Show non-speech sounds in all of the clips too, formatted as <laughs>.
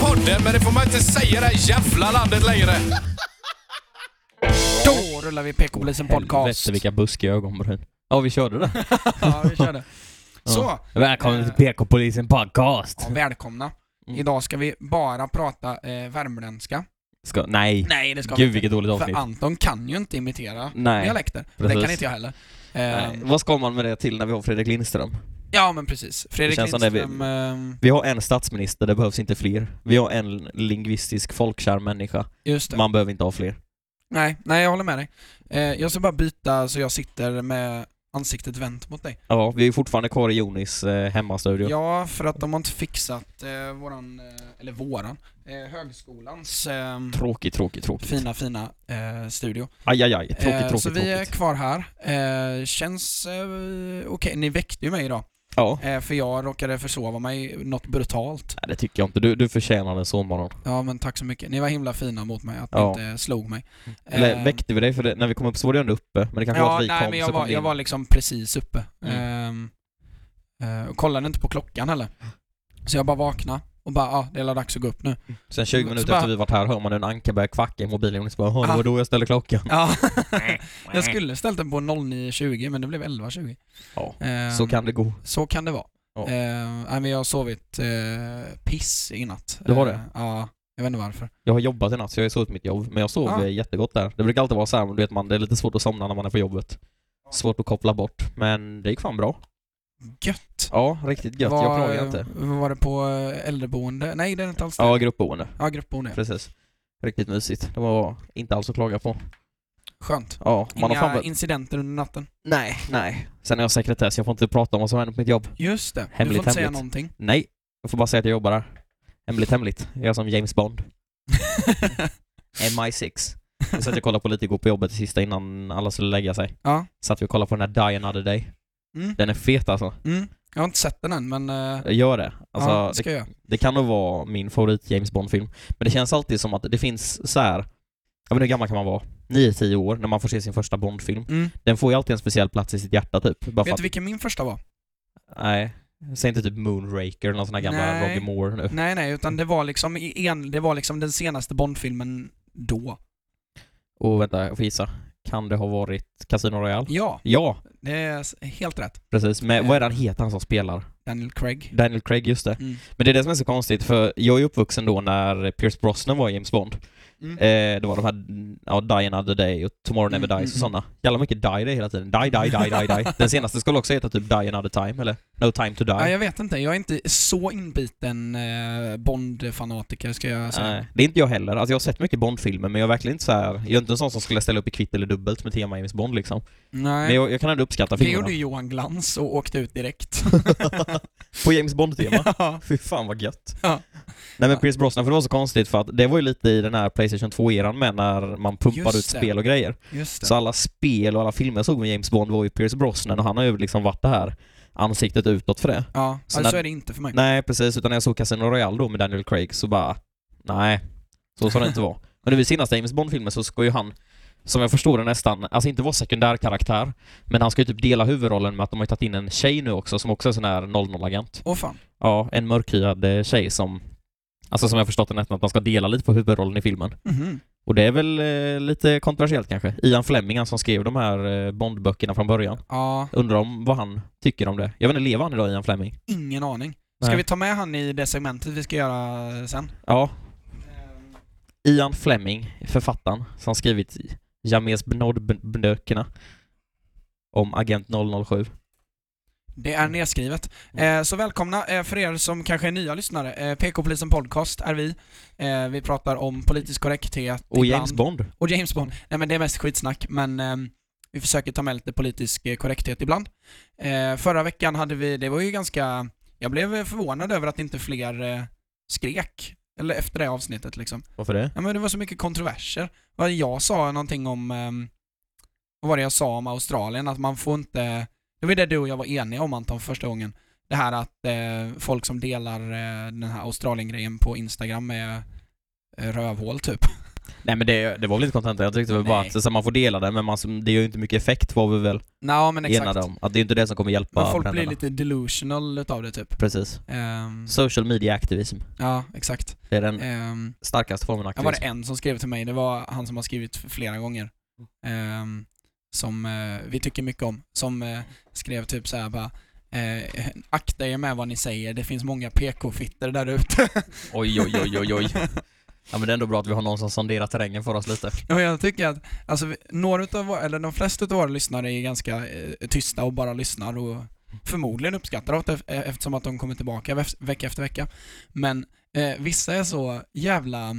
podden, men det får man inte säga i det här jävla landet längre. Då rullar vi PK-polisen podcast. Helvete vilka buskiga ögonbryn. Ja, vi körde det. <laughs> Ja, vi <laughs> kör det. <laughs> Så, Välkommen till PK-polisen podcast. ja, välkomna. Mm. Idag ska vi bara prata eh, värmländska. Ska, nej. Nej, det ska Gud vi inte. vilket dåligt För avsnitt. Anton kan ju inte imitera Nej, dialekter. Det precis. kan inte jag heller. Eh, Nej. Vad ska man med det till när vi har Fredrik Lindström? ja, men precis. Fredrik känns som det vi- Lindström... eh, Vi har en statsminister, det behövs inte fler. Vi har en lingvistisk folkkär människa. Just det. Man behöver inte ha fler. Nej, nej, jag håller med dig. Eh, jag ska bara byta så jag sitter med ansiktet vänt mot dig. Ja, vi är fortfarande kvar i Jonis eh, hemmastudio. Ja, för att de har inte fixat eh, våran, eh, eller våran, eh, högskolans eh, Tråkigt, tråkigt, tråkigt. fina, fina eh, studio. Aj, aj, aj. Tråkigt, eh, tråkigt, så vi är tråkigt. kvar här. Eh, känns eh, okej, ni väckte ju mig idag. Ja. Eh, för jag råkade försova mig något brutalt. Nej, det tycker jag inte. Du, du förtjänar en sovmorgon. Ja men tack så mycket. Ni var himla fina mot mig att Ja. Mm. ni inte slog mig. Eller Eh, väckte vi dig? För det, när vi kom upp så var du ändå uppe. Men det kanske var Ja, att vi nej kom men så jag kom var, vi in. jag var liksom precis uppe. Mm. Ehm, eh, och kollade inte på klockan heller. Så jag bara vaknade och bara, ja ah, det är alla dags att gå upp nu. Sen 20 Mm, Så minuter bara- efter vi varit här hör man en anka börja kvacka i mobilen och så bara "Jaha, Ah. det var då jag ställde klockan. Ja, <laughs> jag skulle ställt den på 09.20 men det blev 11.20. Ja, Ehm, Så kan det gå. så kan det vara. Ja. Ehm, nej, men jag har sovit eh, piss i natt. Du har det? Ehm, ja, jag vet inte varför. Jag har jobbat i natt så jag har sovit mitt jobb, men jag sov Ah. eh, jättegott där. Det brukar alltid vara så här, du vet man, det är lite svårt att somna när man är på jobbet. Svårt att koppla bort, men det gick fan bra. Gött! Ja, riktigt gött. jag klagar inte. Var det på eh, äldreboende? Nej det är inte alls det. Ja, gruppboende. ja gruppboende. Precis. Riktigt mysigt. Det var inte alls att klaga på. Skönt. Ja, man Inga har fan... varit- incidenter under natten. Nej, nej. Sen är jag sekretess, jag får inte prata om vad som händer på mitt jobb. Just det. du får Hemligt, inte säga hemligt. <laughs> någonting. Nej, jag får bara säga att jag jobbar där. Hemligt, hemligt. Jag är som James Bond. MI6. Jag satt och kollade på lite igår på jobbet sista innan alla skulle lägga sig. ja. Satt vi och kollade på den här Die Another Day. <laughs> Mm. Den är fet alltså. Mm. Jag har inte sett den än men... eh, Jag Gör det. Alltså, ja, det ska jag göra. det, det kan nog vara min favorit James Bond-film. Men det känns alltid som att det finns så här. jag vet inte hur gammal kan man vara? 9-10 år när man får se sin första Bond-film. Mm. Den får ju alltid en speciell plats i sitt hjärta typ. Bara för Vet att, du vilken min första var? nej. Säg inte typ Moonraker eller någon sån här gamla Nej. Roger Moore nu. Nej nej, utan det var liksom, i en, det var liksom den senaste Bondfilmen då. Och Oh, vänta, jag får gissa. Kan det ha varit Casino Royale? Ja, Ja, det är s- helt rätt. precis. Men Eh. vad är det han heter han som spelar? Daniel Craig. Daniel Craig, just det. Mm. Men det är det som är så konstigt, för jag är uppvuxen då när Pierce Brosnan var James Bond. Mm. Eh, det var de här, ja, Die Another Day och Tomorrow Never Mm, mm, Dies och mm. sådana. Jävla mycket Die det är hela tiden. Die, die, die, die, die. Den senaste skulle också heta typ Die Another Time, eller No Time To Die. Ja, jag vet inte, jag är inte så inbiten eh, Bond-fanatiker ska jag säga. Nej, det är inte jag heller. Alltså jag har sett mycket Bond-filmer men jag är verkligen inte så här. jag är inte en sån som skulle ställa upp i kvitt eller dubbelt med tema James Bond liksom. Nej. Men jag, jag kan ändå uppskatta det filmerna. gjorde ju Johan Glans och åkte ut direkt. <laughs> På James Bond-tema. <laughs> ja. Fy fan vad gött. Ja. Nej men Ja. Pierce Brosnan, för det var så konstigt för att det var ju lite i den här Playstation 2-eran med när man pumpade Just ut det. spel och grejer. Just det. Så alla spel och alla filmer jag såg med James Bond var ju Pierce Brosnan och han har ju liksom varit det här ansiktet utåt för det. ja, alltså, så så, när- så är det inte för mig. Nej precis, utan när jag såg Casino Royale då med Daniel Craig så bara, nej, så ska det inte vara. Men nu i senaste James Bond-filmen så ska ju han, som jag förstår det nästan, alltså inte vara sekundärkaraktär, men han ska ju typ dela huvudrollen med att de har ju tagit in en tjej nu också som också är sån här 00-agent. Åh fan. Ja, en mörkhyad eh, tjej som, alltså som jag förstått det nästan, att man ska dela lite på huvudrollen i filmen. Mhm. Och det är väl eh, lite kontroversiellt kanske. Ian Fleming, han som skrev de här eh, Bond-böckerna från början. Ja, Undrar om vad han tycker om det. Jag vet inte, lever han idag, Ian Fleming? ingen aning. Ska Nej. vi ta med han i det segmentet vi ska göra sen? Ja, Ian Fleming, författaren, som skrivit James Bond-böckerna om Agent 007. Det är nedskrivet. Eh, så välkomna eh, för er som kanske är nya lyssnare. Eh, PK-polisen podcast är vi. Eh, vi pratar om politisk korrekthet Och ibland. James Bond. Och James Bond. Nej men det är mest skitsnack, men ehm, vi försöker ta med lite politisk eh, korrekthet ibland. Eh, förra veckan hade vi, det var ju ganska, jag blev eh, förvånad över att inte fler eh, skrek. Eller efter det avsnittet liksom. Varför det? Ja men det var så mycket kontroverser. Vad Jag sa någonting om, ehm, vad var det jag sa om Australien? Att man får inte, det var ju det du och jag var eniga om Anton första gången. Det här att eh, folk som delar eh, den här Australien-grejen på Instagram är eh, rövhål typ. <laughs> Nej men det, det var väl inte kontentan, jag tyckte väl bara Nej. att så, man får dela det men man, som- det gör ju inte mycket effekt var vi väl Nej men exakt. enade om. Att det är inte det som kommer hjälpa Men folk blir bränderna. lite delusional utav det typ. Precis. Ehm, Social media activism. ja, exakt. Det är den Ehm, starkaste formen av Ja, var det aktivism. en som skrev till mig, det var han som har skrivit flera gånger. Ehm, som eh, vi tycker mycket om. Som eh, skrev typ så här bara eh, Akta er med vad ni säger, det finns många PK-fitter där ute. Oj oj oj <laughs> oj oj. Ja men det är ändå bra att vi har någon som sonderar terrängen för oss lite. och jag tycker att alltså, vi- några utav våra, eller de flesta av våra lyssnare är ganska eh, tysta och bara lyssnar och förmodligen uppskattar det ef- eftersom att de kommer tillbaka ve- vecka efter vecka. Men eh, vissa är så jävla,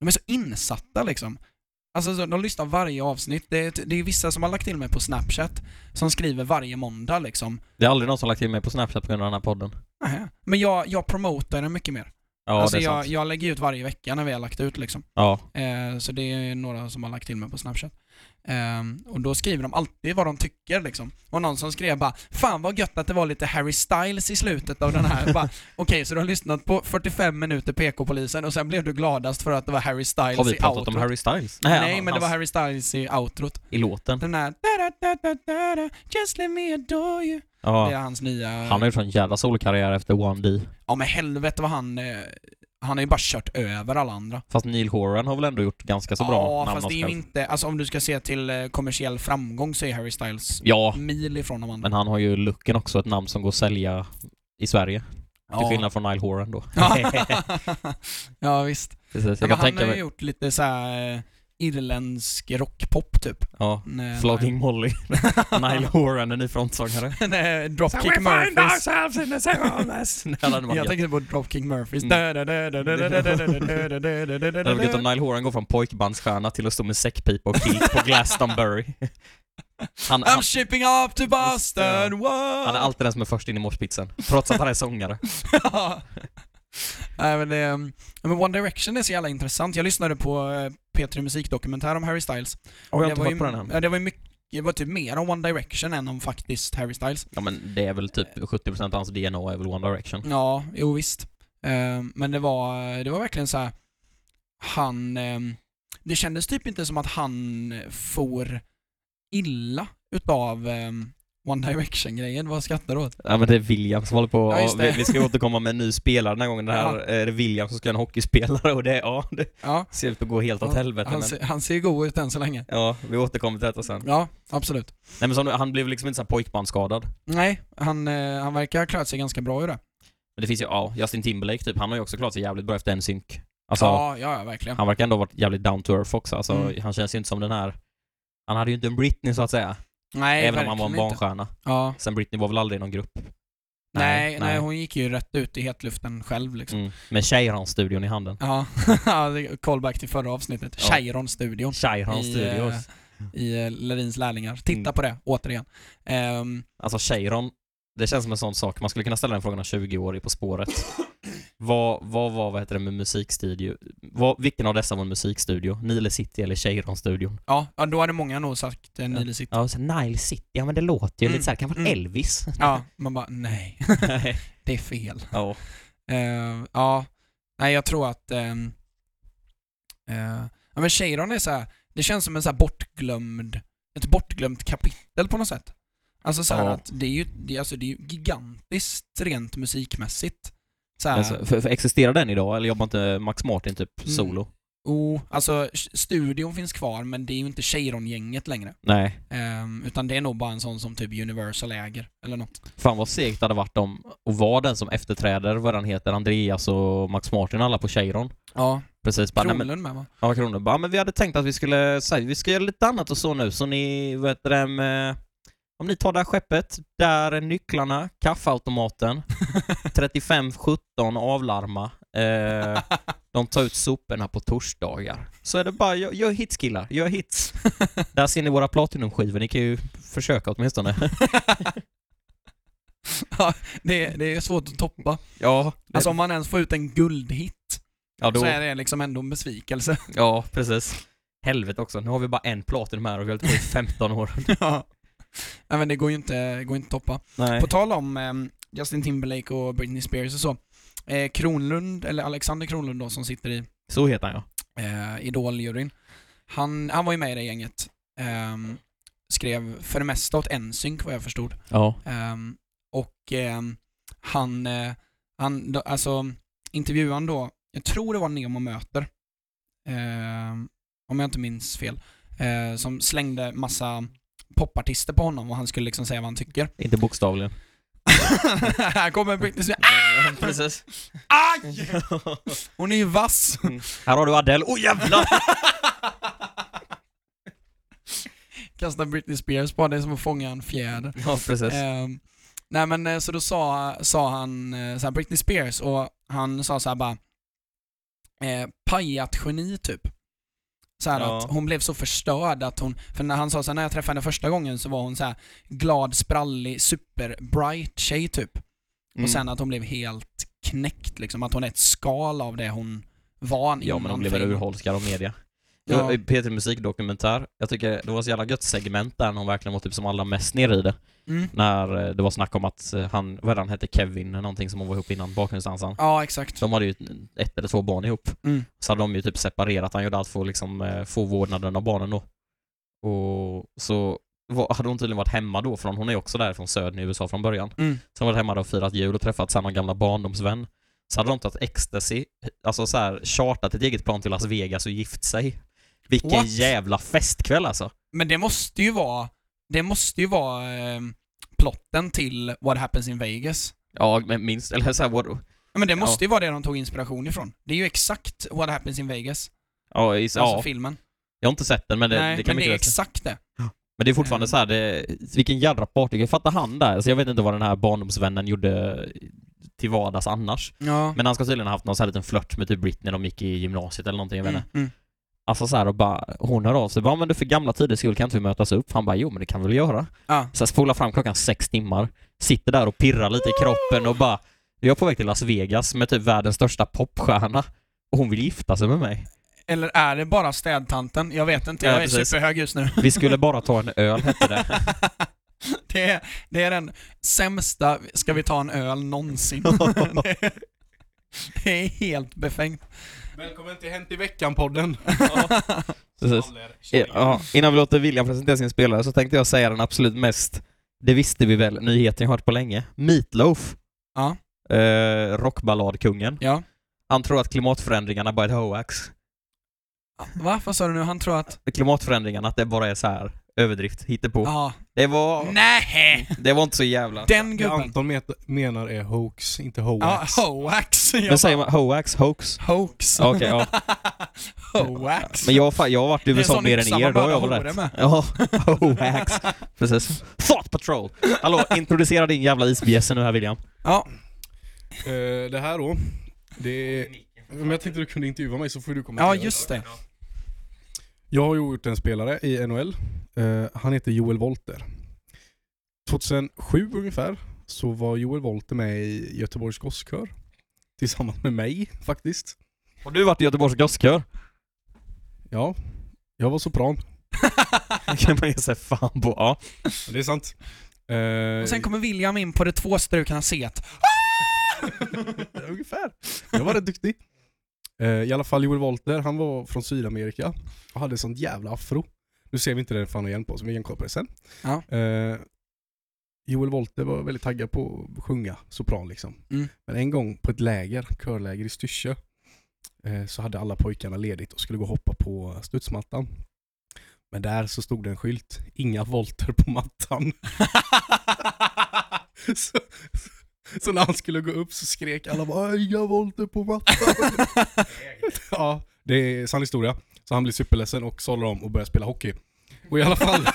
de är så insatta liksom. Alltså så- de lyssnar varje avsnitt. Det är, det är vissa som har lagt till mig på Snapchat som skriver varje måndag liksom. Det är aldrig någon som lagt till mig på Snapchat på grund av den här podden. Nähä. Men jag, jag promotar den mycket mer. Ja alltså det är jag, sant. jag lägger ut varje vecka när vi har lagt ut liksom. Ja. Eh, så det är några som har lagt till mig på Snapchat. Eh, och då skriver de alltid vad de tycker liksom. Och någon som skrev bara Fan vad gött att det var lite Harry Styles i slutet av den här. <laughs> bara, Okej, så du har lyssnat på 45 minuter PK-polisen och sen blev du gladast för att det var Harry Styles Har vi i pratat outrot. om Harry Styles? Nej, men det hans- Mm. var Harry Styles i outrot. I låten. Den här da-da-da-da-da, Just let me adore you. Det Ja. är hans nya... Han har gjort en jävla solkarriär efter 1D. Ja men helvete vad han... Eh, han har ju bara kört över alla andra. Fast Neil Horan har väl ändå gjort ganska så bra ja, namn fast och det är ju spel. inte, alltså om du ska se till eh, kommersiell framgång så är Harry Styles Ja, mil ifrån de andra. men han har ju looken också, ett namn som går att sälja i Sverige. Till ja. skillnad från Neil Horan då. <laughs> ja visst. Precis, Ja, jag men kan han tänka har ju mig... gjort lite så här eh, irländsk rockpop typ. Ja. Nej, <laughs> Flogging Molly. Neil Horan, en ny frontsångare. <laughs> nej. Nej, Dropkick Murphys. ourselves in the <laughs> Jag same tänker på Dropkick Murphys. Mm. Det hade varit gött om Mm. Neil Horan går från pojkbandsstjärna till att stå med säckpipa och kilt på <laughs> Glastonbury. Han, han, I'm shipping up to det, Boston, wow! han är alltid den som är först in i moshpitsen. Trots att han är sångare. Ja. <laughs> Nej, men, det, um, men One Direction är så jävla intressant. Jag lyssnade på eh, P3 Musikdokumentär om Harry Styles. Och det, var ju, ja, det var ju mycket, det var typ mer om One Direction än om faktiskt Harry Styles. Ja men det är väl typ 70% av hans DNA är väl One Direction. Ja, jo visst. Ehm, men det var, det var verkligen så här. han, ehm, det kändes typ inte som att han for illa utav ehm, One Direction-grejen. Vad skrattar du åt? Ja men det är William som håller på Ja, just det. vi, vi ska återkomma med en ny spelare den här gången. Den här är det William som ska göra en hockeyspelare och det, ja, det Ja, ser ut att gå helt åt Ja, helvete han, men, ser, han ser ju god ut än så länge. Ja, vi återkommer till detta sen. Ja, absolut. Nej men som, du- han blev liksom inte så här pojkbandsskadad. Nej, han, eh, han verkar ha klarat sig ganska bra ur det. Men det finns ju, ja, Justin Timberlake typ, han har ju också klarat sig jävligt bra efter en synk. Alltså, Ja, ja, ja verkligen. han verkar ändå ha varit jävligt down to earth också. Alltså, Mm. han känns ju inte som den här han hade ju inte en Britney så att säga, Nej, även om han var en verkligen inte. barnstjärna. Ja. Sen Britney var väl aldrig i någon grupp? Nej, nej, hon gick ju rätt ut i hetluften själv liksom. Mm. Med Cheiron-studion i handen. Ja, <laughs> det är callback till förra avsnittet. Mm. Ja. Cheiron-studion I, Cheiron-studios. eh, i eh, Lerins lärlingar. Titta Mm. på det, återigen. Ehm, Alltså Cheiron, det känns som en sån sak. Man skulle kunna ställa den frågan om 20 år i På spåret. vad, vad var, vad heter det med musikstudio? Vad, vilken av dessa var en musikstudio? Nile City eller Cheiron-studion? ja, ja, då hade många nog sagt eh, Nile <laughs> City. Ja, så Nile City, ja men det låter ju Mm. lite såhär, kan vara Mm. <laughs> Elvis? Ja, man bara nej, <laughs> det är fel. ja. Ehm, ja, nej jag tror att... ehm, eh, ja men Cheiron är så här, det känns som en så här bortglömd, ett bortglömt kapitel på något sätt. Alltså så här Ja. att det är ju det, är- alltså det är ju gigantiskt rent musikmässigt. Så här, Men så- för, för existerar den idag eller jobbar inte Max Martin typ solo? oh, alltså s- studion finns kvar men det är ju inte Cheiron-gänget längre. Nej. Ehm, utan det är nog bara en sån som typ Universal äger, eller något. Fan vad segt det hade varit om, och var den som efterträder vad den heter, Andreas och Max Martin, alla på Cheiron. Ja, Precis, bara, nej, men- Kronlund med va? Ja, Kronor bara, "Ja, men vi hade tänkt att vi skulle, så här, vi ska göra lite annat och så nu, så ni, vad heter det, med, om ni tar det här skeppet, där är nycklarna, <laughs> kaffeautomaten, 3517 avlarma, eh, de tar ut soporna på torsdagar. Så är det bara, gör, gör hits killar, <laughs> gör hits. Där ser ni våra platinumskivor, ni kan ju försöka åtminstone. ja, det, är- det är svårt att toppa. Ja, Alltså om man ens får ut en guldhit ja, då, så är det liksom ändå en besvikelse. ja precis. Helvete också, nu har vi bara en platinum här och vi har hållit på i <laughs> 15 år. ja. Nej men det går ju inte, går inte att toppa. Nej. På tal om ehm, Justin Timberlake och Britney Spears och så. Eh, Kronlund, eller Alexander Kronlund då som sitter i, Så heter han ja. eh, Idol-juryn. Han, han var ju med i det gänget. Ehm, skrev för det mesta åt NSYNC vad jag förstod. Ja. Ehm, och ehm, han, eh, han då, alltså intervjuan då, jag tror det var Nemo möter, ehm, om jag inte minns fel, eh, som slängde massa popartister på honom och han skulle liksom säga vad han tycker. <laughs> Inte bokstavligen. Här kommer Britney Spears. <laughs> Precis. Aj! Hon är ju vass! <laughs> Här har du Adele. Oj jävlar! Kasta Britney Spears på det är som att fånga en fjäder. <laughs> ja, precis. Ehm, nej men eh, så då sa, sa han eh, så här, Britney Spears och han sa så här bara eh, pajat geni typ. Så här Ja. att hon blev så förstörd att hon, för när han sa så här, när jag träffade henne första gången så var hon så här glad, sprallig, superbright tjej typ. Mm. Och sen att hon blev helt knäckt liksom, att hon är ett skal av det hon var Mm. Ja, men de innan blev väl fame. urholkade av media. Ja. Ja. Peter Musikdokumentär, jag tycker det var så jävla gött segment där när hon verkligen var typ som allra mest nere i det. Mm. När eh, det var snack om att eh, han, vad är det han hette, Kevin, någonting som hon var ihop innan, bakgrundsdansaren. Ja, exakt. De hade ju ett eller två barn ihop. Mm. Så hade de ju typ separerat, han gjorde allt för att liksom eh, få vårdnaden av barnen då. Och så var, hade hon tydligen varit hemma då, från hon är ju också där från södern i USA från början. Mm. Så hon var hemma då och firat jul och träffat samma gamla barndomsvän. Så hade de tagit ecstasy, alltså så här, chartat ett eget plan till Las Vegas och gift sig. Vilken What? jävla festkväll alltså! Men det måste ju vara, det måste ju vara ehm, plotten till What happens in Vegas. Ja, men minst, eller så här, what, Ja, Men det måste ju vara det de tog inspiration ifrån. Det är ju exakt What happens in Vegas, ja, is, alltså ja, filmen. jag har inte sett den men det, Nej, det kan men man det är inte exakt det. Men det är fortfarande Mm. så här, det, vilken jädra party. Jag fattar han där, så jag vet inte vad den här barndomsvännen gjorde till vardags annars. Ja. Men han ska tydligen ha haft någon så här liten flört med typ Britney när de gick i gymnasiet eller någonting, jag vet inte. mm, mm. Alltså så här och bara, hon hör av sig, bara, men du för gamla tiders skull kan inte vi mötas upp? Han bara, jo men det kan vi väl göra? Ja. Så jag spolar fram klockan sex timmar, sitter där och pirrar lite i kroppen och bara, jag är på väg till Las Vegas med typ världens största popstjärna och hon vill gifta sig med mig. Eller är det bara städtanten? Jag vet inte, Ja, jag är precis. superhög just nu. <laughs> Vi skulle bara ta en öl hette det. det, är, det är den sämsta, ska vi ta en öl någonsin? <laughs> det, är, det är helt befängt. Välkommen till Hänt i veckan-podden. Precis. Ja, innan vi låter William presentera sin spelare så tänkte jag säga den absolut mest, det visste vi väl, nyheten jag hört på länge. Meatloaf, Ja, eh, rockballadkungen. ja. Han tror att klimatförändringarna bara är ett hoax. Va? Vad sa du nu? Han tror att... Klimatförändringarna, att det bara är så här överdrift, hittepå. Ja. Det var... Nej. Det var inte så jävla... Den Det gubben. Anton met- menar är hoax, inte Ja, hoax. hoax. Jag Men säger man hoax, hoax? <laughs> bara, hoax. Okej, ja. hoax. Men jag, har fa- jag har varit Det i är en USA sån mer yxa än er, man då har jag väl mördar horor rätt. med. <laughs> Ja, hoax. Precis. Thought Patrol! Hallå, introducera din jävla isbjässe nu här William. Ja, Eh, det här då, det är... Men jag tänkte du kunde intervjua mig så får du kommentera. ja just det. Jag har ju gjort en spelare i NHL. Eh, han heter Joel Volter. 2007 ungefär så var Joel Volter med i Göteborgs gosskör. Tillsammans med mig faktiskt. Har du varit i Göteborgs gosskör? Ja, jag var sopran. <laughs> Det kan man ge sig fan på. Ja. Ja, Det är sant. Eh, Och sen kommer William in på det <laughs> tvåstrukna set. Ungefär. Jag var rätt duktig. Eh, I alla fall Joel Volter, han var från Sydamerika och hade sånt jävla afro. Nu ser vi inte den fan igen på så vi kan kolla på det sen. Ja. Eh, Joel Volter var väldigt taggad på att sjunga sopran liksom. Mm. Men en gång på ett läger, körläger i Styrsö, eh, så hade alla pojkarna ledigt och skulle gå och hoppa på studsmattan. Men där så stod det en skylt, inga volter på mattan. <laughs> så, så när han skulle gå upp så skrek alla bara "Äh, inga volter på mattan. <laughs> ja, det är sann historia. Så han blev superledsen och sålde om och började spela hockey. Och i alla fall,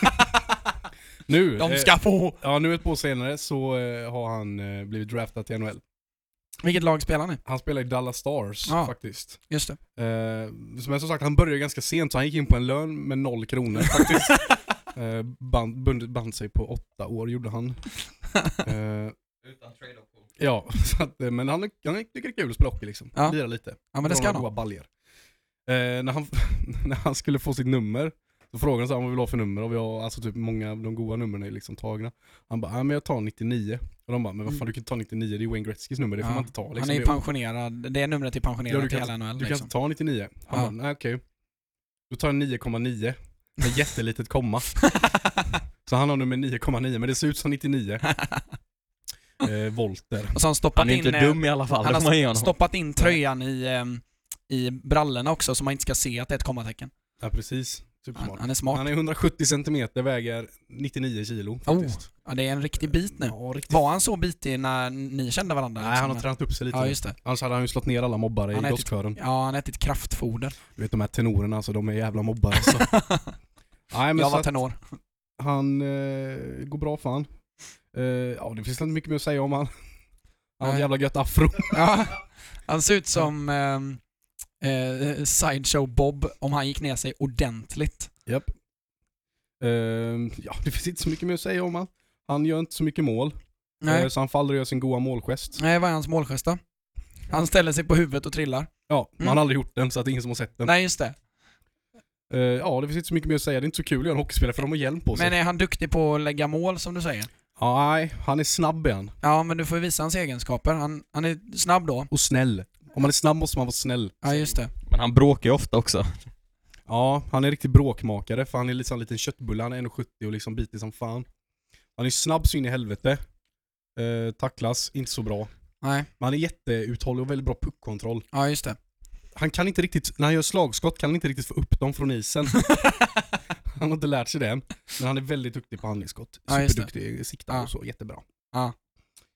nu... <laughs> De eh, ska få! Ja, nu ett år senare så eh, har han eh, blivit draftad till NHL. Vilket lag spelar ni? Han spelar i Dallas Stars Ja. faktiskt. Just det. Eh, men som sagt, han började ganska sent så han gick in på en lön med noll kronor <laughs> faktiskt. eh, band, bund, band sig på åtta år gjorde <laughs> han. Eh, Utan trade ja, <laughs> så att, eh, men han, han tycker det är kul att spela hockey liksom. Ja. Lira lite. Ja men det ska Några han <laughs> ha. goa baljor. Eh, när, han, när han skulle få sitt nummer Då frågade han så här, vad vill du ha för nummer? Och vi har, alltså typ många av de goda numren är liksom tagna. Han bara, nej men jag tar 99. Och de bara, men vad fan du kan inte ta 99, det är ju Wayne Gretzkys nummer, det får Mm. Ja. man inte ta liksom. han är ju Det- pensionerad, det är numret till Ja, pensionerad du till kan hela NHL. Du kan liksom. <laughs> inte ta 99. Han Ja. bara, nej okej. Då tar jag 9,9. Med jättelitet komma. Så han har nummer 9,9, men det ser ut som 99 eh, volter. och så har han stoppat Han är ju in, inte eh, dum i alla fall, han det har får man ge honom. stoppat in tröjan i, ehm, i brallorna också så man inte ska se att det är ett kommatecken. Ja precis. Han, Supersmart. han är smart. Han är 170 centimeter, väger 99 kilo faktiskt. Ja, det är en riktig bit nu. Ja, riktigt. Var han så bitig när ni kände varandra? Nej, liksom? han har tränat upp sig lite. Ja, just det. Annars hade han ju slått ner alla mobbare Han typ- i har ätit- gosskören. Ja, han har ätit kraftfoder. Du vet de här tenorerna, alltså de är jävla mobbare <laughs> alltså. Nej, men jag så var att tenor. han eh, går bra för han. Eh, ja, det finns inte mycket mer att säga om han. Han har Nej. ett jävla gött afro. Ja, han ser ut som ehm, eh, Sideshow Bob om han gick ner sig ordentligt. Japp. Ehm, ja, det finns inte så mycket mer att säga om han. Han gör inte så mycket mål, Nej, eh, så han faller och gör sin goa målgest. Nej vad är hans målgest då? Han ställer sig på huvudet och trillar. Ja, men Mm. han har aldrig gjort den så att det är ingen som har sett den. Nej, just det. Eh, ja, det finns inte så mycket mer att säga. Det är inte så kul att göra en hockeyspelare för de har hjälm på sig. Men eh, är han duktig på att lägga mål som du säger? Ja, Nej, han är snabb igen. Ja, men du får ju visa hans egenskaper. Han, han är snabb då. Och snäll. Om man är snabb måste man vara snäll. Ja, just det. Men han bråkar ju ofta också. Ja, han är riktigt bråkmakare för han är liksom en liten köttbulle. Han är 1,70 och liksom bitig som fan. Han är snabb så in i helvete. Eh, tacklas inte så bra. Nej, Men han är jätteuthållig och väldigt bra puckkontroll. ja just <laughs> det. Han kan inte riktigt, när han gör slagskott kan han inte riktigt få upp dem från isen. han har inte lärt sig det än. Men han är väldigt duktig på handledsskott. Ja, just det. Superduktig, siktar Ja. och så, jättebra.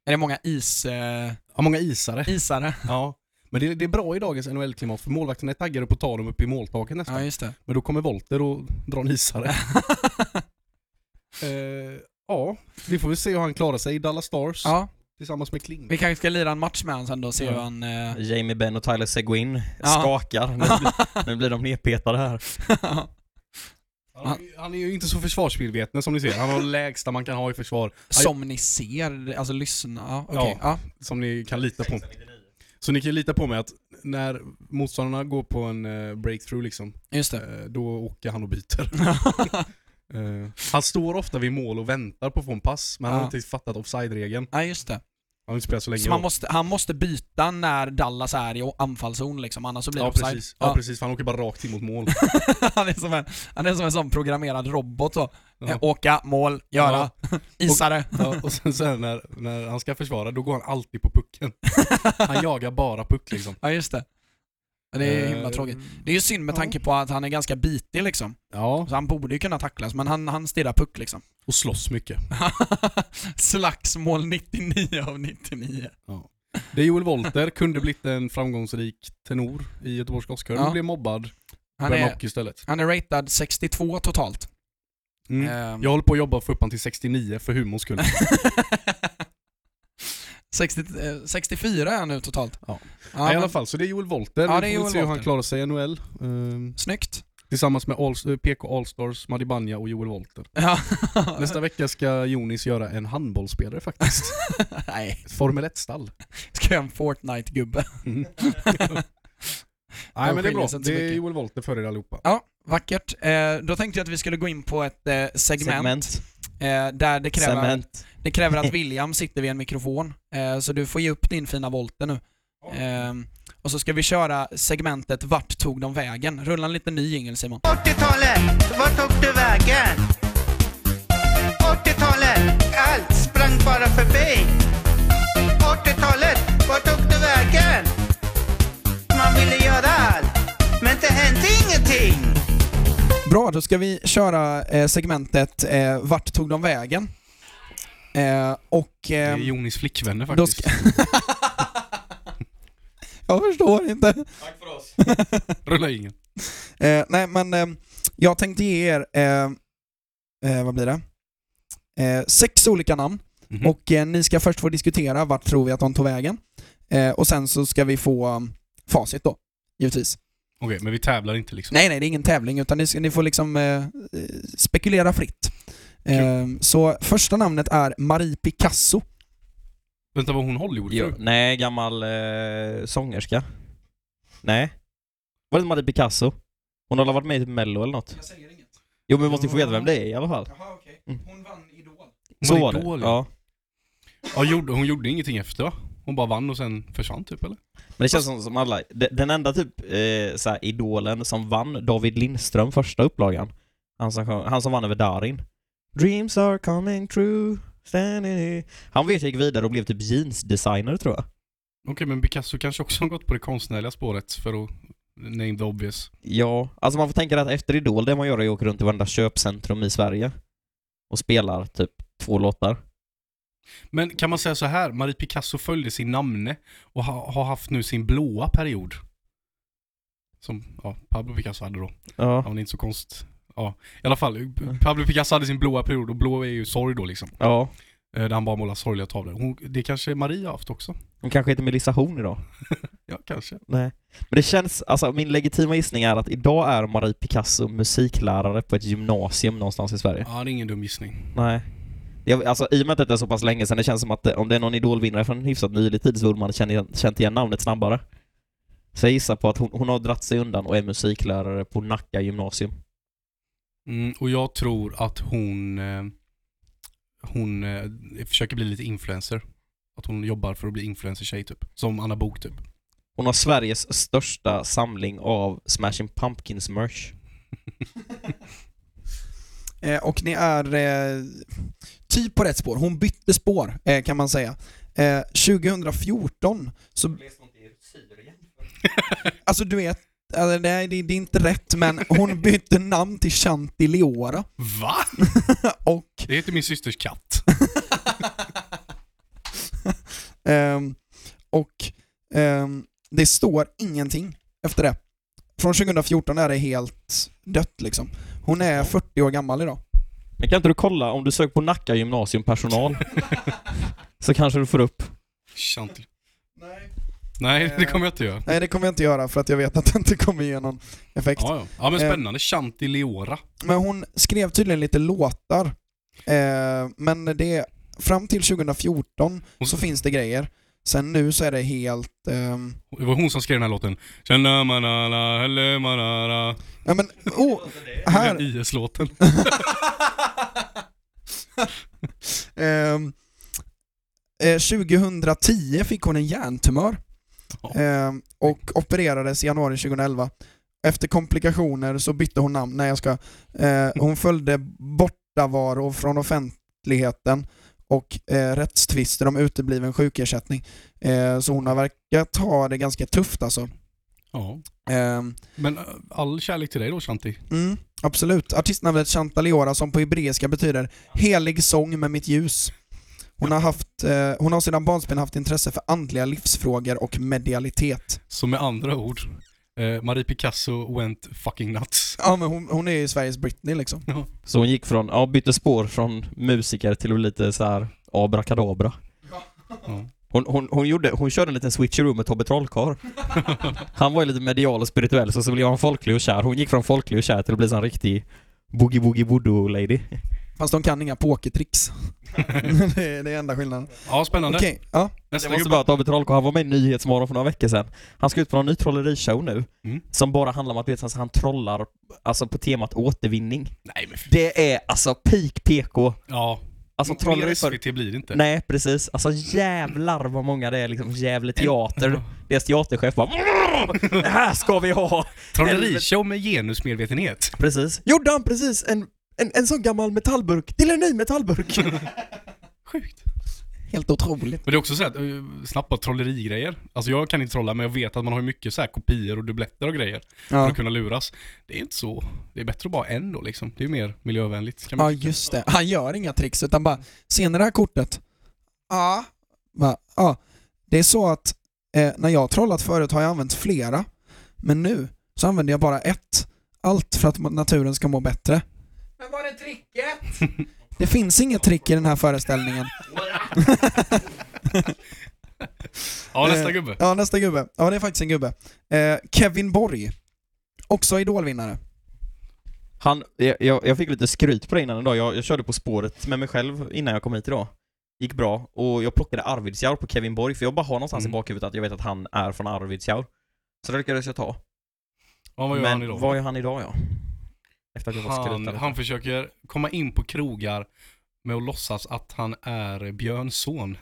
Är det många is, eh, Ja, många isare. isare? <laughs> Ja. Men det, det är bra i dagens NHL-klimat för målvakterna är taggade på att ta dem upp i måltaket nästan. Ja, just det. Men då kommer Volter och drar en isare. <laughs> eh, ja, vi får väl se hur han klarar sig i Dallas Stars Ja, tillsammans med Kling. vi kanske ska lira en match med honom sen då och se Ja. hur han... eh, Jamie Benn och Tyler Seguin Ja. skakar. Nu <laughs> blir, nu blir de nedpetade här. eh, Han, han är ju inte så försvarsmedveten som ni ser. Han har det lägsta man kan ha i försvar. Som ni ser, alltså lyssna. Ja, okej. ja. som ni kan lita på. Så ni kan lita på mig att när motståndarna går på en eh, breakthrough liksom, just det. <laughs> eh, då åker han och byter. Eh, han står ofta vid mål och väntar på att få en pass, men han Ja. har inte riktigt fattat offside-regeln. Nej, just det. Han har inte spelat så länge. Så man då. måste, han måste byta när Dallas är i anfallszon liksom, annars så blir det ja, offside. precis. Ja, precis, för han åker bara rakt in mot mål. <laughs> han, är som en, han är som en sån programmerad robot så. Ja. Eh, Åka, mål, göra, <laughs> isare. Ja, och sen så här, när, när han ska försvara, då går han alltid på <laughs> pucken. Han jagar bara puck liksom. Ja, just det. Ja, Det är ju Eh, himla tråkigt. Det är ju synd med ja. tanke på att han är ganska bitig liksom. Ja, Så han borde ju kunna tacklas, men han, han stirrar puck liksom. <laughs> och slåss mycket. Slagsmål 99 av 99. Det är Joel Volter, kunde blivit en framgångsrik tenor i Göteborgs Gothkör, Ja. men blev mobbad. Han Började med är, hockey istället. han är ratad 62 totalt. Mm. Ehm, <laughs> Jag håller på att jobba för upp han till 69 för humorns skull. 60, eh, 64 är han nu totalt. Ja. Ja, I alla men, fall, så det är Joel Volter. Ja, det är vi får Joel väl se hur han Volter. klarar sig i NHL. Ehm, snyggt. tillsammans med Alls- eh, PK Allstars, Madi Banja och Joel Volter. <laughs> Ja. Nästa vecka ska Jonis göra en handbollsspelare faktiskt. <laughs> Nej, Ett Formel 1-stall. ska jag en Fortnite-gubbe. Nej men det är skiljer bra. sig inte så Det är mycket. Joel Volter för er allihopa. Ja, vackert. Eh, då tänkte jag att vi skulle gå in på ett eh, segment, Segment. Eh, där det kräver, Cement. det kräver <laughs> att William sitter vid en mikrofon. Eh, så du får ge upp din fina volter nu. Eh, och så ska vi köra segmentet Vart tog de vägen? Rulla en liten ny jingel Simon. 80-talet, vart tog du vägen? 80-talet, allt sprang bara förbi. 80-talet, vart tog du vägen? Man ville göra allt, men det hände ingenting. Bra, då ska vi köra eh, segmentet eh, Vart tog de vägen? Eh, och... Det är ehm, Jonis flickvänner Då faktiskt. ska... jag förstår inte. <laughs> <laughs> Rulla ingen. Eh, nej, men eh, jag tänkte ge er, eh, eh, vad blir det? Eh, sex olika namn Mhm. och eh, ni ska först få diskutera vart tror vi att de tog vägen. Eh, och sen så ska vi få um, facit då, givetvis. Okej, men vi tävlar inte liksom. Nej, nej, det är ingen tävling utan ni, ska, ni får liksom eh, eh, spekulera fritt. Eh, så första namnet är Marie Picasso. Vänta, var hon Hollywoodfru? Jo, nej, gammal eh, sångerska. Nej. Var det inte Marie Picasso? Hon har väl varit med i typ Mello eller något? Jag säger inget. Jo men vi måste ju få veta vem det är i alla fall. Jaha, okej. Hon vann Idol. Så Hon var var det. idol, ja. Ja. Ja, gjorde, hon gjorde ingenting efter va? Hon bara vann och sen försvann typ eller? Men det känns som, som alla, de- den enda typ eh, såhär, idolen som vann David Lindström första upplagan. Han som, sjöng- han som vann över Darin. Dreams are coming true. standing here." Han vet jag gick vidare och blev typ jeansdesigner tror jag. Okej, men Picasso kanske också har gått på det konstnärliga spåret för att name the obvious. Ja, alltså man får tänka att efter Idol, det man gör är att åka runt i varenda köpcentrum i Sverige och spelar typ två låtar. Men kan man säga så här, Marie Picasso följde sin namne och ha, har haft nu sin blåa period. Som ja, Pablo Picasso hade då. Ja. Han är inte så konst... Ja, i alla fall. Pablo Picasso hade sin blåa period och blå är ju sorg då liksom. Ja. Eh, Där han bara målar sorgliga tavlor. Hon, det kanske Marie har haft också? Hon kanske heter Melissa Horn idag. Ja, kanske. Nej. Men det känns, alltså min legitima gissning är att idag är Marie Picasso musiklärare på ett gymnasium någonstans i Sverige. Ja, det är ingen dum gissning. Nej. Jag, alltså i och med att detta är så pass länge sedan, det känns som att eh, om det är någon idolvinnare från en hyfsat nylig tid så borde man känna igen, känt igen namnet snabbare. Så jag gissar på att hon, hon har dratt sig undan och är musiklärare på Nacka gymnasium. Mm, och jag tror att hon... Eh, hon eh, försöker bli lite influencer. Att hon jobbar för att bli influencer-tjej typ. Som Anna Bok typ. Hon har Sveriges största samling av Smashing Pumpkins merch. Eh, och ni är eh, typ på rätt spår. Hon bytte spår eh, kan man säga. Eh, 2014 så... Alltså du vet, alltså, nej, det, det är inte rätt men <laughs> hon bytte namn till Shanti Leora Va? <laughs> och <laughs> Det heter min systers katt. Ehm, och ehm, det står ingenting efter det. Från 2014 är det helt dött liksom. Hon är 40 år gammal idag. Men kan inte du kolla om du söker på Nacka gymnasium personal? <laughs> så kanske du får upp. Chantil. Nej. Nej, det kommer jag inte göra. Nej, det kommer jag inte göra för att jag vet att det inte kommer ge någon effekt. Ja, ja. ja men Eh. spännande. Chantileora. Men hon skrev tydligen lite låtar. Eh, men det, fram till 2014 Hon- så finns det grejer. Sen nu så är det helt... ehm, Det var hon som skrev den här låten. Tjena manana, helle manana. ja men, oh, här, Den IS-låten. Ehm, eh, 2010 fick hon en hjärntumör Ja. Ehm, och opererades i januari 2011. Efter komplikationer så bytte hon namn. Nej, jag ska. Eh, hon följde bortavaro från offentligheten och eh, rättstvister om utebliven sjukersättning. Eh, så hon har verkat ha det ganska tufft alltså. Ja. Ehm, Men eh, all kärlek till dig då Chanti. mm, absolut. Artistnamnet Chantaliora som på hebreiska betyder helig sång med mitt ljus. Hon har, haft, eh, hon har sedan barnsben haft intresse för andliga livsfrågor och medialitet. Så med andra ord, eh, Marie Picasso went fucking nuts. Ja, men hon, hon är ju Sveriges Britney liksom. Så hon gick från, ja bytte spår från musiker till att bli lite så här abrakadabra. Ja. Hon, hon, hon, gjorde, hon körde en liten switcheroo med <laughs> Tobbe Trollkarl. Han var ju lite medial och spirituell, så, så blev han folklig och kär. Hon gick från folklig och kär till att bli sån riktig boogie-boogie-voodoo-lady. Fast de kan inga <laughs> pokertricks. det, är, det är enda skillngen. Ja, spännande. Okej, ja. Nästa Jag måste gubbe. bara David Trollkarl, han var med i Nyhetsmorgon för några veckor sedan. Han ska ut på någon ny trollerishow nu. Mm. Som bara handlar om att du vet, alltså, han trollar alltså, på temat återvinning. Nej men för... Det är alltså peak PK. Ja. Alltså Mer trolleri för... SVT blir det inte. Nej, precis. Alltså jävlar vad många det är liksom. Gävle Teater. Deras teaterchef bara Det här ska vi ha! Trollerishow med <laughs> genusmedvetenhet. Precis. Gjorde han precis en, en, en sån gammal metallburk till en ny metallburk? Sjukt. Helt otroligt. Men det är också så här, att, eh, snabbt bara trollerigrejer. Alltså jag kan inte trolla men jag vet att man har ju mycket så här kopior och dubbletter och grejer. För Ja. att kunna luras. Det är inte så. Det är bättre att bara ha en då liksom. Det är ju mer miljövänligt. Kan man... ja, just det. Han gör inga tricks utan bara, ser ni det här kortet? Ja. Va? Ja. Det är så att eh, när jag har trollat förut har jag använt flera, men nu så använder jag bara ett. Allt för att naturen ska må bättre. Men var är tricket? Det finns inget trick i den här föreställningen. Ja, nästa Eh, gubbe. Ja, nästa gubbe. Ja, det är faktiskt en gubbe. Eh, Kevin Borg. Också idolvinnare. Han, jag, jag jag fick lite skryt på det innan idag. Jag, jag körde På spåret med mig själv innan jag kom hit idag. Gick bra. Och jag plockade Arvidsjaur på Kevin Borg, för jag bara har någonstans Mm. i bakhuvudet att jag vet att han är från Arvidsjaur. Så det lyckades jag ta. Ja, vad gör Men han idag? vad gör han idag ja? Efter att jag var Han, skrutare. han försöker komma in på krogar med att låtsas att han är Björns son.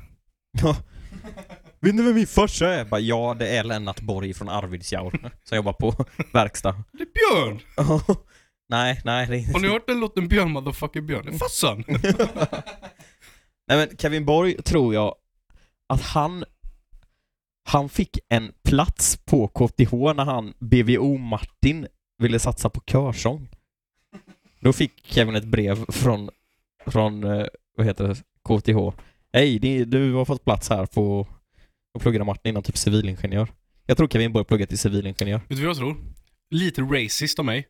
Vet ni vem min farsa är? Bara, ja, det är Lennart Borg från Arvidsjaur. Som jobbar på verkstad. Det är Björn! nej, nej. Det är Har ni hört den låten Björn motherfucker Björn? Det är farsan! <laughs> Nej men Kevin Borg tror jag att han han fick en plats på KTH när han BVO Martin ville satsa på körsång. Då fick Kevin ett brev från, från eh, vad heter det, KTH. Hej, ni- du har fått plats här på att plugga där Martin inom typ civilingenjör. Jag tror Kevin Borg pluggar till civilingenjör. Vet du vad jag tror? Lite racist av mig.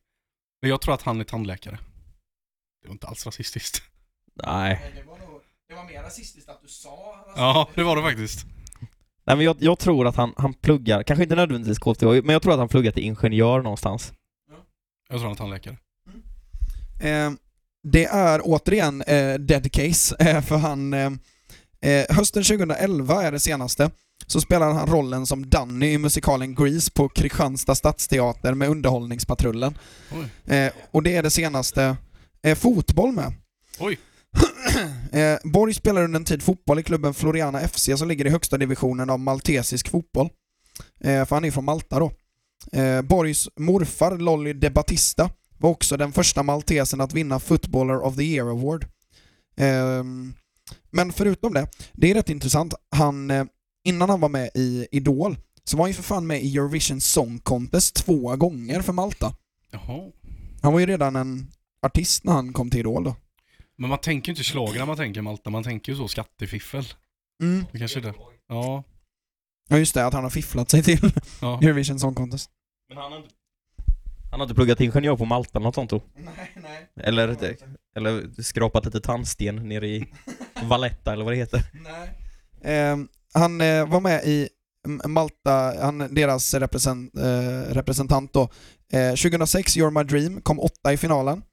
Men jag tror att han är tandläkare. Det var inte alls rasistiskt. Nej. Det var, nog, det var mer rasistiskt att du sa rasistiskt. Ja, det var det faktiskt. Nej men jag, jag tror att han, han pluggar, kanske inte nödvändigtvis KTH, men jag tror att han pluggar till ingenjör någonstans. Jag tror han är tandläkare. Eh, det är återigen eh, dead case, <laughs> eh, för han... Eh, eh, hösten 2011 är det senaste, så spelar han rollen som Danny i musikalen Grease på Kristianstad stadsteater med Underhållningspatrullen. Oj. Eh, och det är det senaste eh, fotboll med. Oj. <clears throat> eh, Borg spelar under en tid fotboll i klubben Floriana FC som ligger i högsta divisionen av maltesisk fotboll. Eh, för han är från Malta då. Eh, Borgs morfar Lolly de Battista var också den första maltesen att vinna Footballer of the Year Award. Ehm, men förutom det, det är rätt intressant. Han, eh, innan han var med i Idol så var han ju för fan med i Eurovision Song Contest två gånger för Malta. Jaha. Han var ju redan en artist när han kom till Idol då. Men man tänker ju inte schlager när man tänker Malta, man tänker ju så skattefiffel. Mm. Det kanske är det. Ja. Ja just det, att han har fifflat sig till ja. Eurovision Song Contest. Men han har inte... Han har inte pluggat ingenjör på Malta eller något sånt då? Nej, nej. Eller, eller skrapat lite tandsten nere i Valletta eller vad det heter. Ehm, han eh, var med i M- Malta, han, deras represent, eh, representant då. Eh, 2006, You're My Dream, kom åtta i finalen.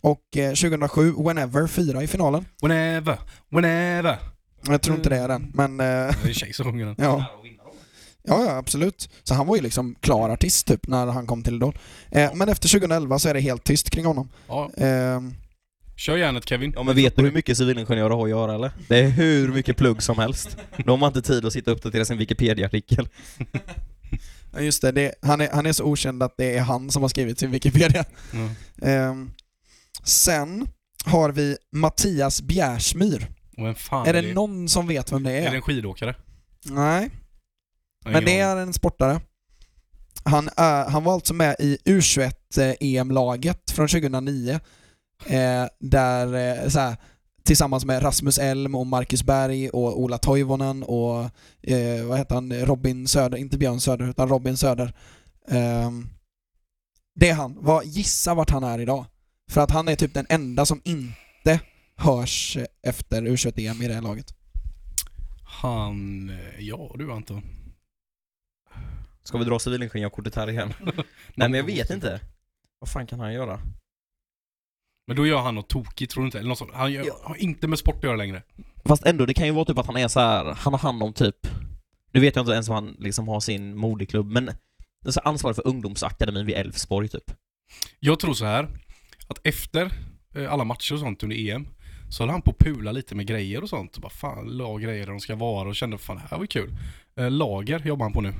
Och eh, 2007, Whenever, fyra i finalen. Whenever, whenever. Jag tror inte det är den, men eh, <laughs> Det är tjej som sjunger den. ja. Ja, ja, absolut. Så han var ju liksom klar artist typ när han kom till Idol. Eh, men efter 2011 så är det helt tyst kring honom. Ja. Ehm, Kör järnet Kevin. Ja men vet du hur mycket civilingenjörer har att göra eller? Det är hur mycket plugg som helst. De har inte tid att sitta och uppdatera sin Wikipedia-artikel. Ja, Just det, det han, är, han är så okänd att det är han som har skrivit sin Wikipedia. Ja. Ehm, sen har vi Mattias Bjärsmyr. Och vem fan är det någon som vet vem det är? Är det en skidåkare? Nej, Jag har men ingen det aning. är en sportare. Han, är, han var alltså med i U21-EM-laget från 2009. Eh, där, eh, så här, tillsammans med Rasmus Elm och Marcus Berg och Ola Toivonen och eh, vad heter han, Robin Söder, inte Björn Söder utan Robin Söder. Ehm, det är han. Vad, gissa vart han är idag. För att han är typ den enda som inte hörs efter U21-EM i det här laget. Han... eh, Ja du Anton. Ska vi dra civilingenjörkortet här igen? Nej men jag vet inte. Vad fan kan han göra? Men då gör han något tokigt tror du inte? Eller något sånt. Han gör, Ja. har inte med sport att göra längre. Fast ändå, det kan ju vara typ att han är så här, han har hand om typ, nu vet jag inte ens om han liksom har sin moderklubb, men så ansvarig för ungdomsakademin vid Elfsborg typ. Jag tror så här att efter eh, alla matcher och sånt under EM så höll han på att pula lite med grejer och sånt. Och bara fan, la grejer där de ska vara och kände fan det här var ju kul. Eh, Lager jobbar han på nu.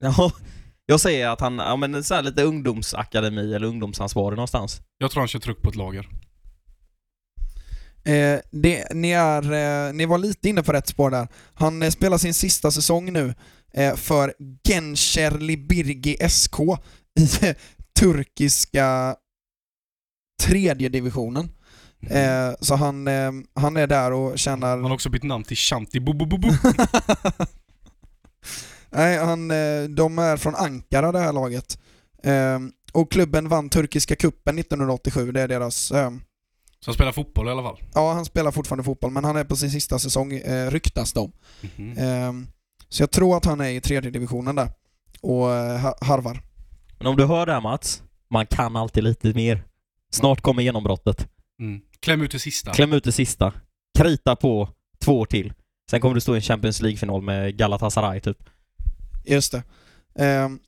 Ja, <laughs> jag säger att han, ja men så här lite ungdomsakademi eller ungdomsansvarig någonstans. Jag tror han kör truck på ett lager. Eh, det, ni, är, eh, ni var lite inne på rätt spår där. Han eh, spelar sin sista säsong nu eh, för Gençerli Birgi SK i <laughs> eh, turkiska tredje divisionen. Eh, så han, eh, han är där och tjänar... Mm. Han har också bytt namn till Shanti bo, bo, bo, bo. Nej, han, eh, de är från Ankara det här laget. Eh, och klubben vann turkiska kuppen 1987, det är deras... Eh, Så han spelar fotboll i alla fall. ja, han spelar fortfarande fotboll men han är på sin sista säsong, eh, ryktas de. Mhm. Ehm, Så jag tror att han är i tredje divisionen där och eh, ha- harvar. Men om du hör det här Mats, man kan alltid lite mer. Snart kommer genombrottet. Mm. Kläm ut det sista. Kläm ut det sista. Krita på två år till. Sen kommer du stå i en Champions League-final med Galatasaray typ. Just det. Ehm,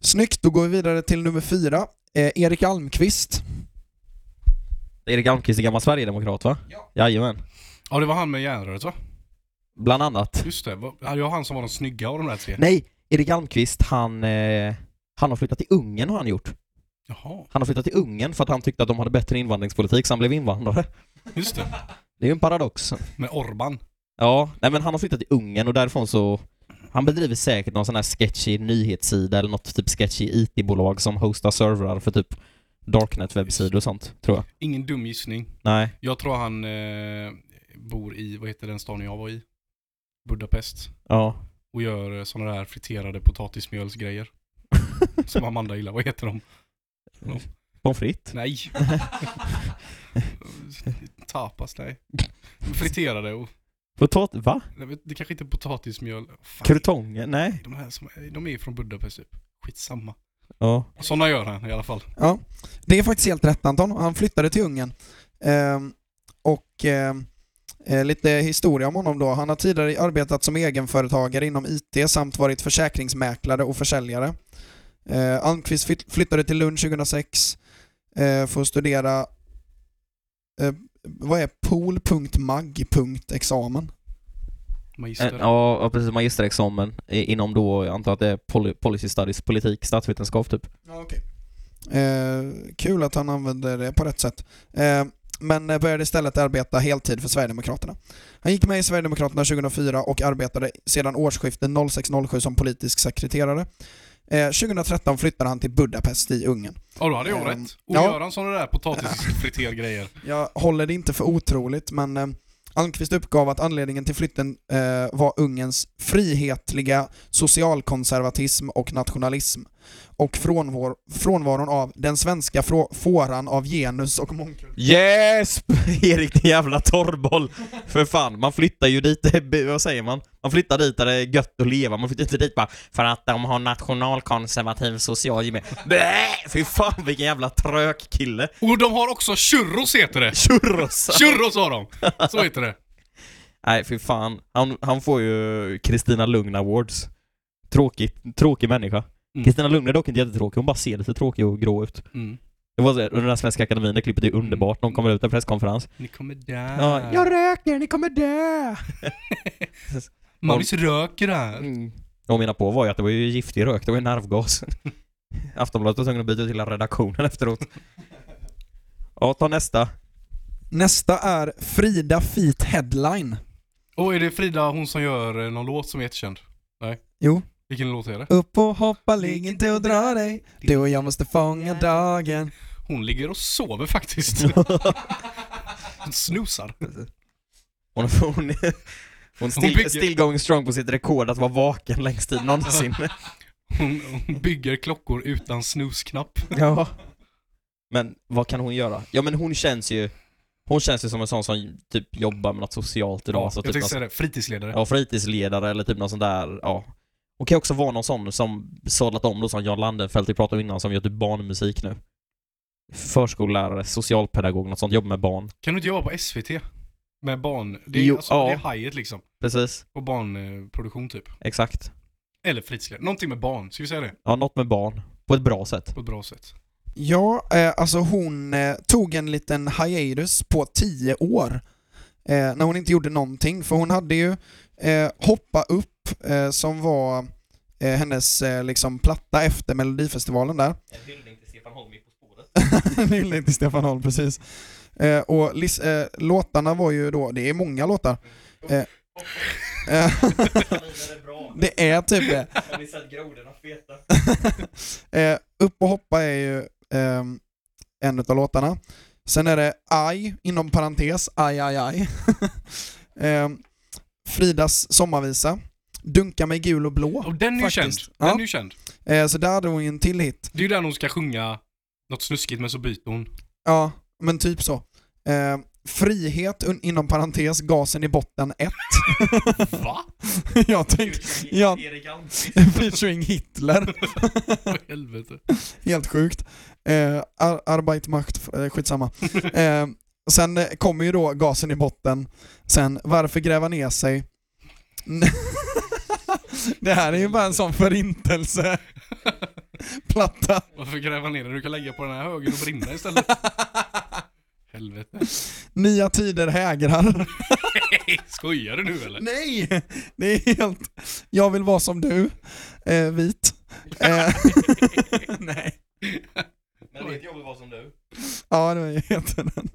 Snyggt, då går vi vidare till nummer fyra. Eh, Erik Almqvist. Erik Almqvist är gammal sverigedemokrat va? Ja. Jajamän. Ja, det var han med järnröret va? Bland annat. Just det. Var- Ja, det var han som var den snygga av de där tre. Nej, Erik Almqvist han, eh, han har flyttat till Ungern har han gjort. Jaha, Han har flyttat till Ungern för att han tyckte att de hade bättre invandringspolitik så han blev invandrare. just det. Det är ju en paradox. Med Orban. Ja, nej men han har flyttat till Ungern och därifrån så han bedriver säkert någon sån här sketchy nyhetssida eller något typ sketchy IT-bolag som hostar servrar för typ Darknet-webbsidor och sånt, tror jag. Ingen dum gissning. Nej. Jag tror han eh, bor i, vad heter den stan jag var i? Budapest. Ja. Och gör sådana där friterade potatismjölsgrejer. Som Amanda gillar. Vad heter de? <laughs> Pommes <laughs> frites? Nej. Tapas, nej. Friterade och... Potat... Va? Nej, men Det kanske inte är potatismjöl. Fan, Krutonger? Nej. De här som, de är från Budapest typ. Skitsamma. Ja. Sådana gör han i alla fall. Ja, det är faktiskt helt rätt Anton. Han flyttade till Ungern. Ehm, och ehm, eh, lite historia om honom då. Han har tidigare arbetat som egenföretagare inom IT samt varit försäkringsmäklare och försäljare. Eh, Almqvist flytt- flyttade till Lund 2006 eh, för att studera eh, vad är pool.mag.examen? Magister. Eh, Ja, ja, precis. Magisterexamen i- inom då, jag antar att det är poly- policy studies, politik, statsvetenskap typ. Ja, okej. Eh, kul att han använder det på rätt sätt. Eh, men började istället arbeta heltid för Sverigedemokraterna. Han gick med i Sverigedemokraterna 2004 och arbetade sedan årsskiftet 06-07 som politisk sekreterare. Eh, 2013 flyttade han till Budapest i Ungern. Ja, då hade jag Ehm, rätt. Och ja. gör han sådana där potatisfritergrejer. <laughs> Jag håller det inte för otroligt, men eh, Almqvist uppgav att anledningen till flytten eh, var Ungerns frihetliga socialkonservatism och nationalism och frånvaro, frånvaron av den svenska frå- fåran av genus och mångkultur. Yes! <laughs> Erik din jävla torrboll! För fan, man flyttar ju dit, <laughs> vad säger man? Man flyttar dit där det är gött att leva, man flyttar inte dit bara för att de har nationalkonservativ social <laughs> gemenskap. Blä! Fy fan vilken jävla trök kille! Och de har också churros heter <laughs> det! Churros! Churros har de! Så heter det. Nej fy fan, han, han får ju Kristina Lugn Awards. Tråkig, tråkig människa. Mm. Kristina Lugn är dock inte jättetråkig, hon bara ser lite tråkig och grå ut. Mm. Det var så här, under den här Svenska Akademin, det klippet är ju underbart, de kommer ut en presskonferens. Ni kommer där. Ja, jag röker, ni kommer dö! Magnus röker här. Mm. Jag menar på var ju att det var ju giftig rök, det var ju nervgas. <laughs> Aftonbladet var tvungen att byta till hela redaktionen efteråt. Ja, ta nästa. Nästa är Frida Feet Headline. Och är det Frida, hon som gör eh, någon låt som är jättekänd? Nej. Jo. Vilken låt är det? Upp och hoppa, ligg inte och dra dig. Du och jag måste fånga dagen. Hon ligger och sover <laughs> faktiskt. Hon snusar. Hon, hon, hon still, bygger- still going strong på sitt rekord att vara vaken längst tid någonsin. Hon, hon bygger klockor utan snusknapp. Ja. Men vad kan hon göra? Ja men hon känns ju Hon känns ju som en sån som typ jobbar med något socialt idag. så jag typ tänkte någon, säga det, fritidsledare. ja, fritidsledare eller typ någon sån där, ja. Hon kan ju också vara någon sån som sadlat om då som Jan Landenfelt vi pratade om innan som gör typ barnmusik nu. Förskollärare, socialpedagog, något sånt, jobbar med barn. Kan du inte jobba på SVT? Med barn... Det är, Jo, alltså, ja. det är hajet liksom. Precis, Och barnproduktion typ. exakt. Eller fritidsledare. Någonting med barn. Ska vi säga det? Ja, något med barn. På ett bra sätt. På ett bra sätt. Ja, eh, alltså hon eh, tog en liten hiatus på 10 år eh, när hon inte gjorde någonting. För hon hade ju eh, Hoppa upp eh, som var eh, hennes eh, liksom platta efter Melodifestivalen där. <laughs> En hyllning till Stefan Holm På spåret. <laughs> Hyllning till Stefan Holm, precis. Eh, och lis- eh, låtarna var ju då, det är många låtar. Eh, eh, det är typ det. Har ni sett grodorna feta? <laughs> Eh, upp och hoppa är ju ehm, en av låtarna. Sen är det Aj, inom parentes, Aj Aj Aj. <laughs> Ehm, Fridas sommarvisa. Dunka mig gul och blå. Och den är ju känd. Faktiskt. Den Ja. är ju känd. Eh, så där hade hon ju en till hit. Det är ju där hon ska sjunga något snuskigt men så byter <laughs> hon. Ja, men typ så. Ehm, frihet, un- inom parentes, gasen i botten 1. Va? <laughs> jag tänkte, ja, <laughs> featuring Hitler. Vad i helvete. Helt sjukt. Eh, ar- arbeit, macht, eh, skitsamma. Eh, sen eh, kommer ju då gasen i botten. Sen, varför gräva ner sig? <laughs> det här är ju bara en sån förintelse. <laughs> platta. Varför gräva ner den? Du kan lägga på den här högen och brinna <laughs> istället. Helvete. Nya tider hägrar. Nej, skojar du nu <laughs> eller? Nej! Det är helt... Jag vill vara som du. Eh, vit. Eh, <laughs> nej. Men vet jag vill vara som du. Ja, det var ju <laughs> heter den.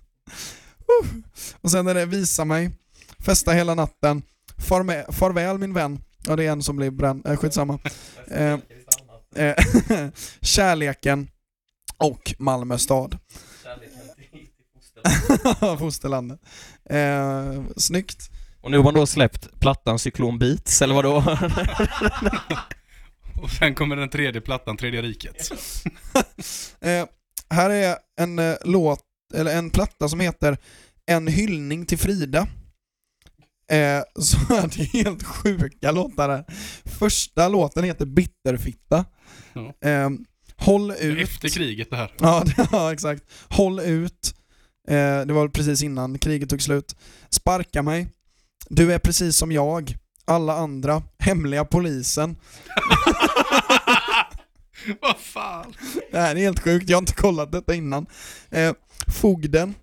Uh. Och sen är det Visa mig, Festa hela natten, Farme- Farväl min vän. Ja, det är en som blir bränd. Eh, skitsamma. Eh, eh, <laughs> kärleken och Malmö stad. <laughs> Fosterlandet. Eh, snyggt. Och nu har man då släppt plattan Cyklon Beats, eller <laughs> vadå? Och sen kommer den tredje plattan, Tredje riket. Eh, här är en eh, låt, eller en platta som heter En hyllning till Frida. Eh, <laughs> så är det helt sjuka låtar här. Första låten heter Bitterfitta. Ja. Eh, Håll ut. Efter kriget det <laughs> här. Ja, det, ja, exakt. Håll ut. Eh, det var precis innan kriget tog slut. Sparka mig. Du är precis som jag. Alla andra. Hemliga polisen. Vad fan? Det här är helt sjukt, jag har inte kollat detta innan. Eh, fogden.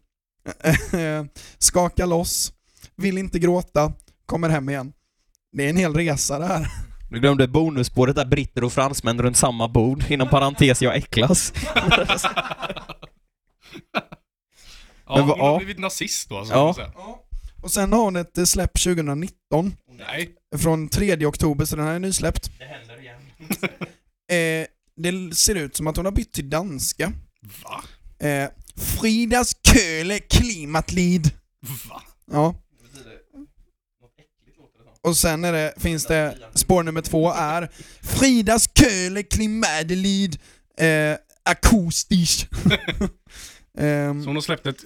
Eh, skaka loss. Vill inte gråta. Kommer hem igen. Det är en hel resa det här. Du glömde bonusspåret där britter och fransmän runt samma bord, inom parentes jag äcklas. Ja, Men vad- hon har ja. blivit nazist då alltså. Ja. kan man säga. Och sen har hon ett eh, släpp 2019 Nej. från 3 oktober, så den här är nysläppt. Det händer igen. <laughs> eh, det ser ut som att hon har bytt till danska. Va? Eh, Fridas Köle Klimatlid. Va? Ja. Och sen är det, finns det, spår nummer två är Fridas Köle Klimadelid eh, <laughs> akustisk. Ehm, Så hon har släppt ett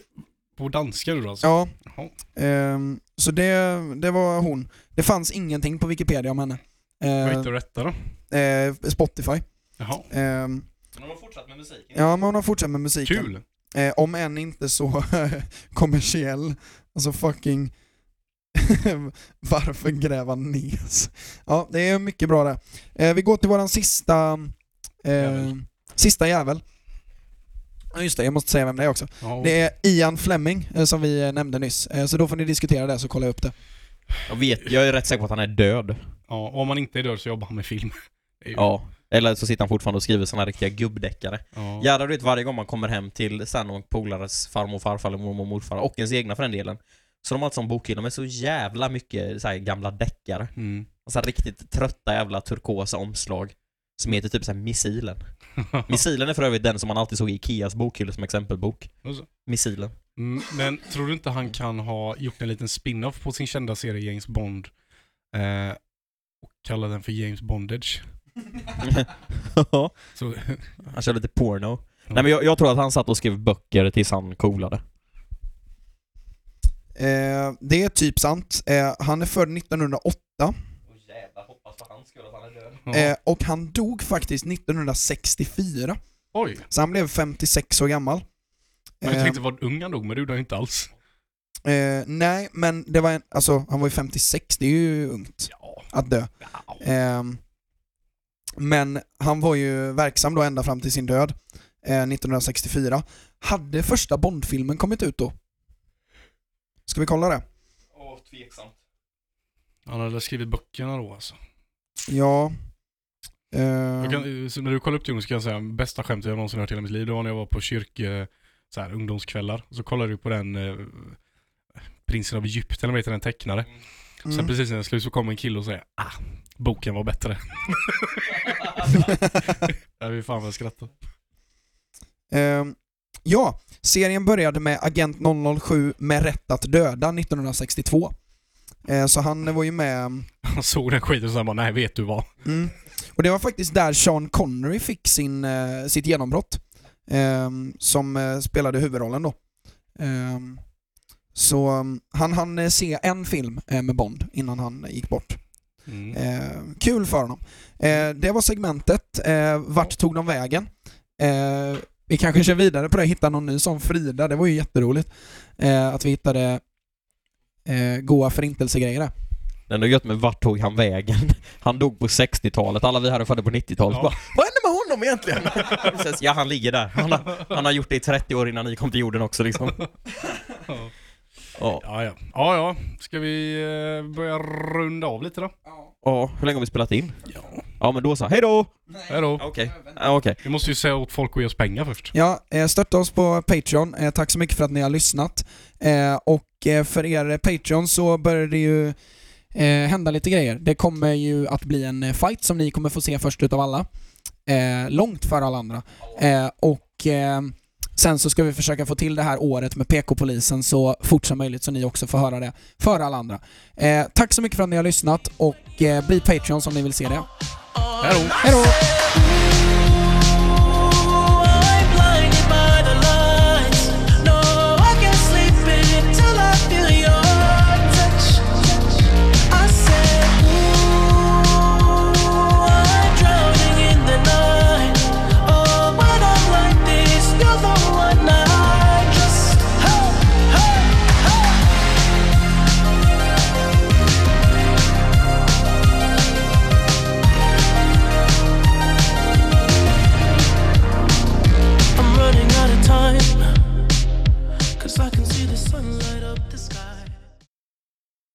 på danska nu då alltså? ja, Jaha. ehm, så det, det var hon. Det fanns ingenting på Wikipedia om henne. Vad Eh, heter rätta då? eh, Spotify. Jaha. Ehm, Men har fortsatt med musiken? ja, men hon har fortsatt med musiken. Kul. Eh, om än inte så <laughs> kommersiell. Alltså fucking... <laughs> Varför gräva ner sig? Ja, det är mycket bra där. Eh, vi går till våran sista... Eh, Jävel. sista jävel. Ja, Just det, jag måste säga vem det är också. Ja. Det är Ian Fleming eh, som vi eh, nämnde nyss. Eh, så då får ni diskutera det så kollar jag upp det. Jag vet, jag är rätt säker på att han är död. ja. Om man inte är död så jobbar han med film. Det är ju- Ja. Eller så sitter han fortfarande och skriver såna här riktiga gubbdeckare. Ja. Jävlar du vet varje gång man kommer hem till sen och polares farmor, farfar, eller mormor, morfar och ens egna för den delen. Så de har ett sån bokhylla med så jävla mycket så här, gamla deckare. Mm. Och så här, riktigt trötta jävla turkosa omslag. Som heter typ så <laughs> här missilen. Missilen är för övrigt den som man alltid såg i Ikeas bokhylla som exempelbok. Och så. Missilen. <laughs> Mm, Men tror du inte han kan ha gjort en liten spin-off på sin kända serie James Bond? Eh, och kalla den för James Bondage? Så, <laughs> han kör lite porno. Nej men jag, jag tror att han satt och skrev böcker tills han coolade. Eh, det är typ sant. Eh, han är född 1908 Åh jävlar, hoppas för hans skull att han är död. ja. eh, och han dog faktiskt 1964. Oj! Så han blev 56 år gammal. Jag Eh, tänkte vad ung han dog, men det gjorde han ju inte alls. Eh, nej, men det var en, alltså, han var ju 56, det är ju ungt Ja. att dö. Ehm, men han var ju verksam då ända fram till sin död eh, 1964. Hade första Bondfilmen kommit ut då? Ska vi kolla det? Åh, tveksamt. Han hade skrivit böckerna då alltså. Ja. Ehm, Jag kan, så när du kollar upp till honom så kan jag säga bästa skämtet jag någonsin hört i hela mitt liv, det var när jag var på kyrka, så här, ungdomskvällar. Och så kollade du på den eh, Prinsen av Egypten, eller vad heter den, tecknade. Sen mm. precis när den slut så kom en kille och säger ah, boken var bättre. Jag vill fan vad jag skrattar. <laughs> Ehm, ja, serien började med Agent 007 med rätt att döda 1962. Eh, så han var ju med <laughs> Han såg den skiten och sen bara, nej vet du vad? Mm. Och det var faktiskt där Sean Connery fick sin, eh, sitt genombrott. Ehm, som eh, spelade huvudrollen då. Ehm, så mm, han hann eh, se en film eh, med Bond innan han gick bort. Mm. Ehm, kul för honom. Ehm, det var segmentet. Ehm, vart tog de vägen? Ehm, vi kanske kör vidare på det, hitta någon ny som Frida. Det var ju jätteroligt. Ehm, att vi hittade eh, goa förintelsegrejer där. Det är <laughs> ändå gött med vart tog han vägen? Han dog på 60-talet, alla vi här är födda på 90-talet. Ja. Bara, Vad hände med honom? om egentligen? <laughs> Precis, ja, han ligger där. Han har, han har gjort det i 30 år innan ni kom till jorden också liksom. Ja. Ja. Ja, ja. ja, ja. Ska vi eh, börja runda av lite då? Ja, hur länge har vi spelat in? Ja, men då så. Hej då! Hej då. Okej. Ja, okej. Vi måste ju säga åt folk att ge oss pengar först. Ja, eh, stötta oss på Patreon. Eh, Tack så mycket för att ni har lyssnat. Eh, Och eh, för er Patreon så börjar det ju eh, hända lite grejer. Det kommer ju att bli en eh, fight som ni kommer få se först utav alla. Eh, Långt före alla andra. Eh, Och eh, sen så ska vi försöka få till det här året med PK-polisen så fort som möjligt så ni också får höra det före alla andra. Eh, Tack så mycket för att ni har lyssnat och eh, bli Patreon om ni vill se det. Hej då. Hej då! Mm.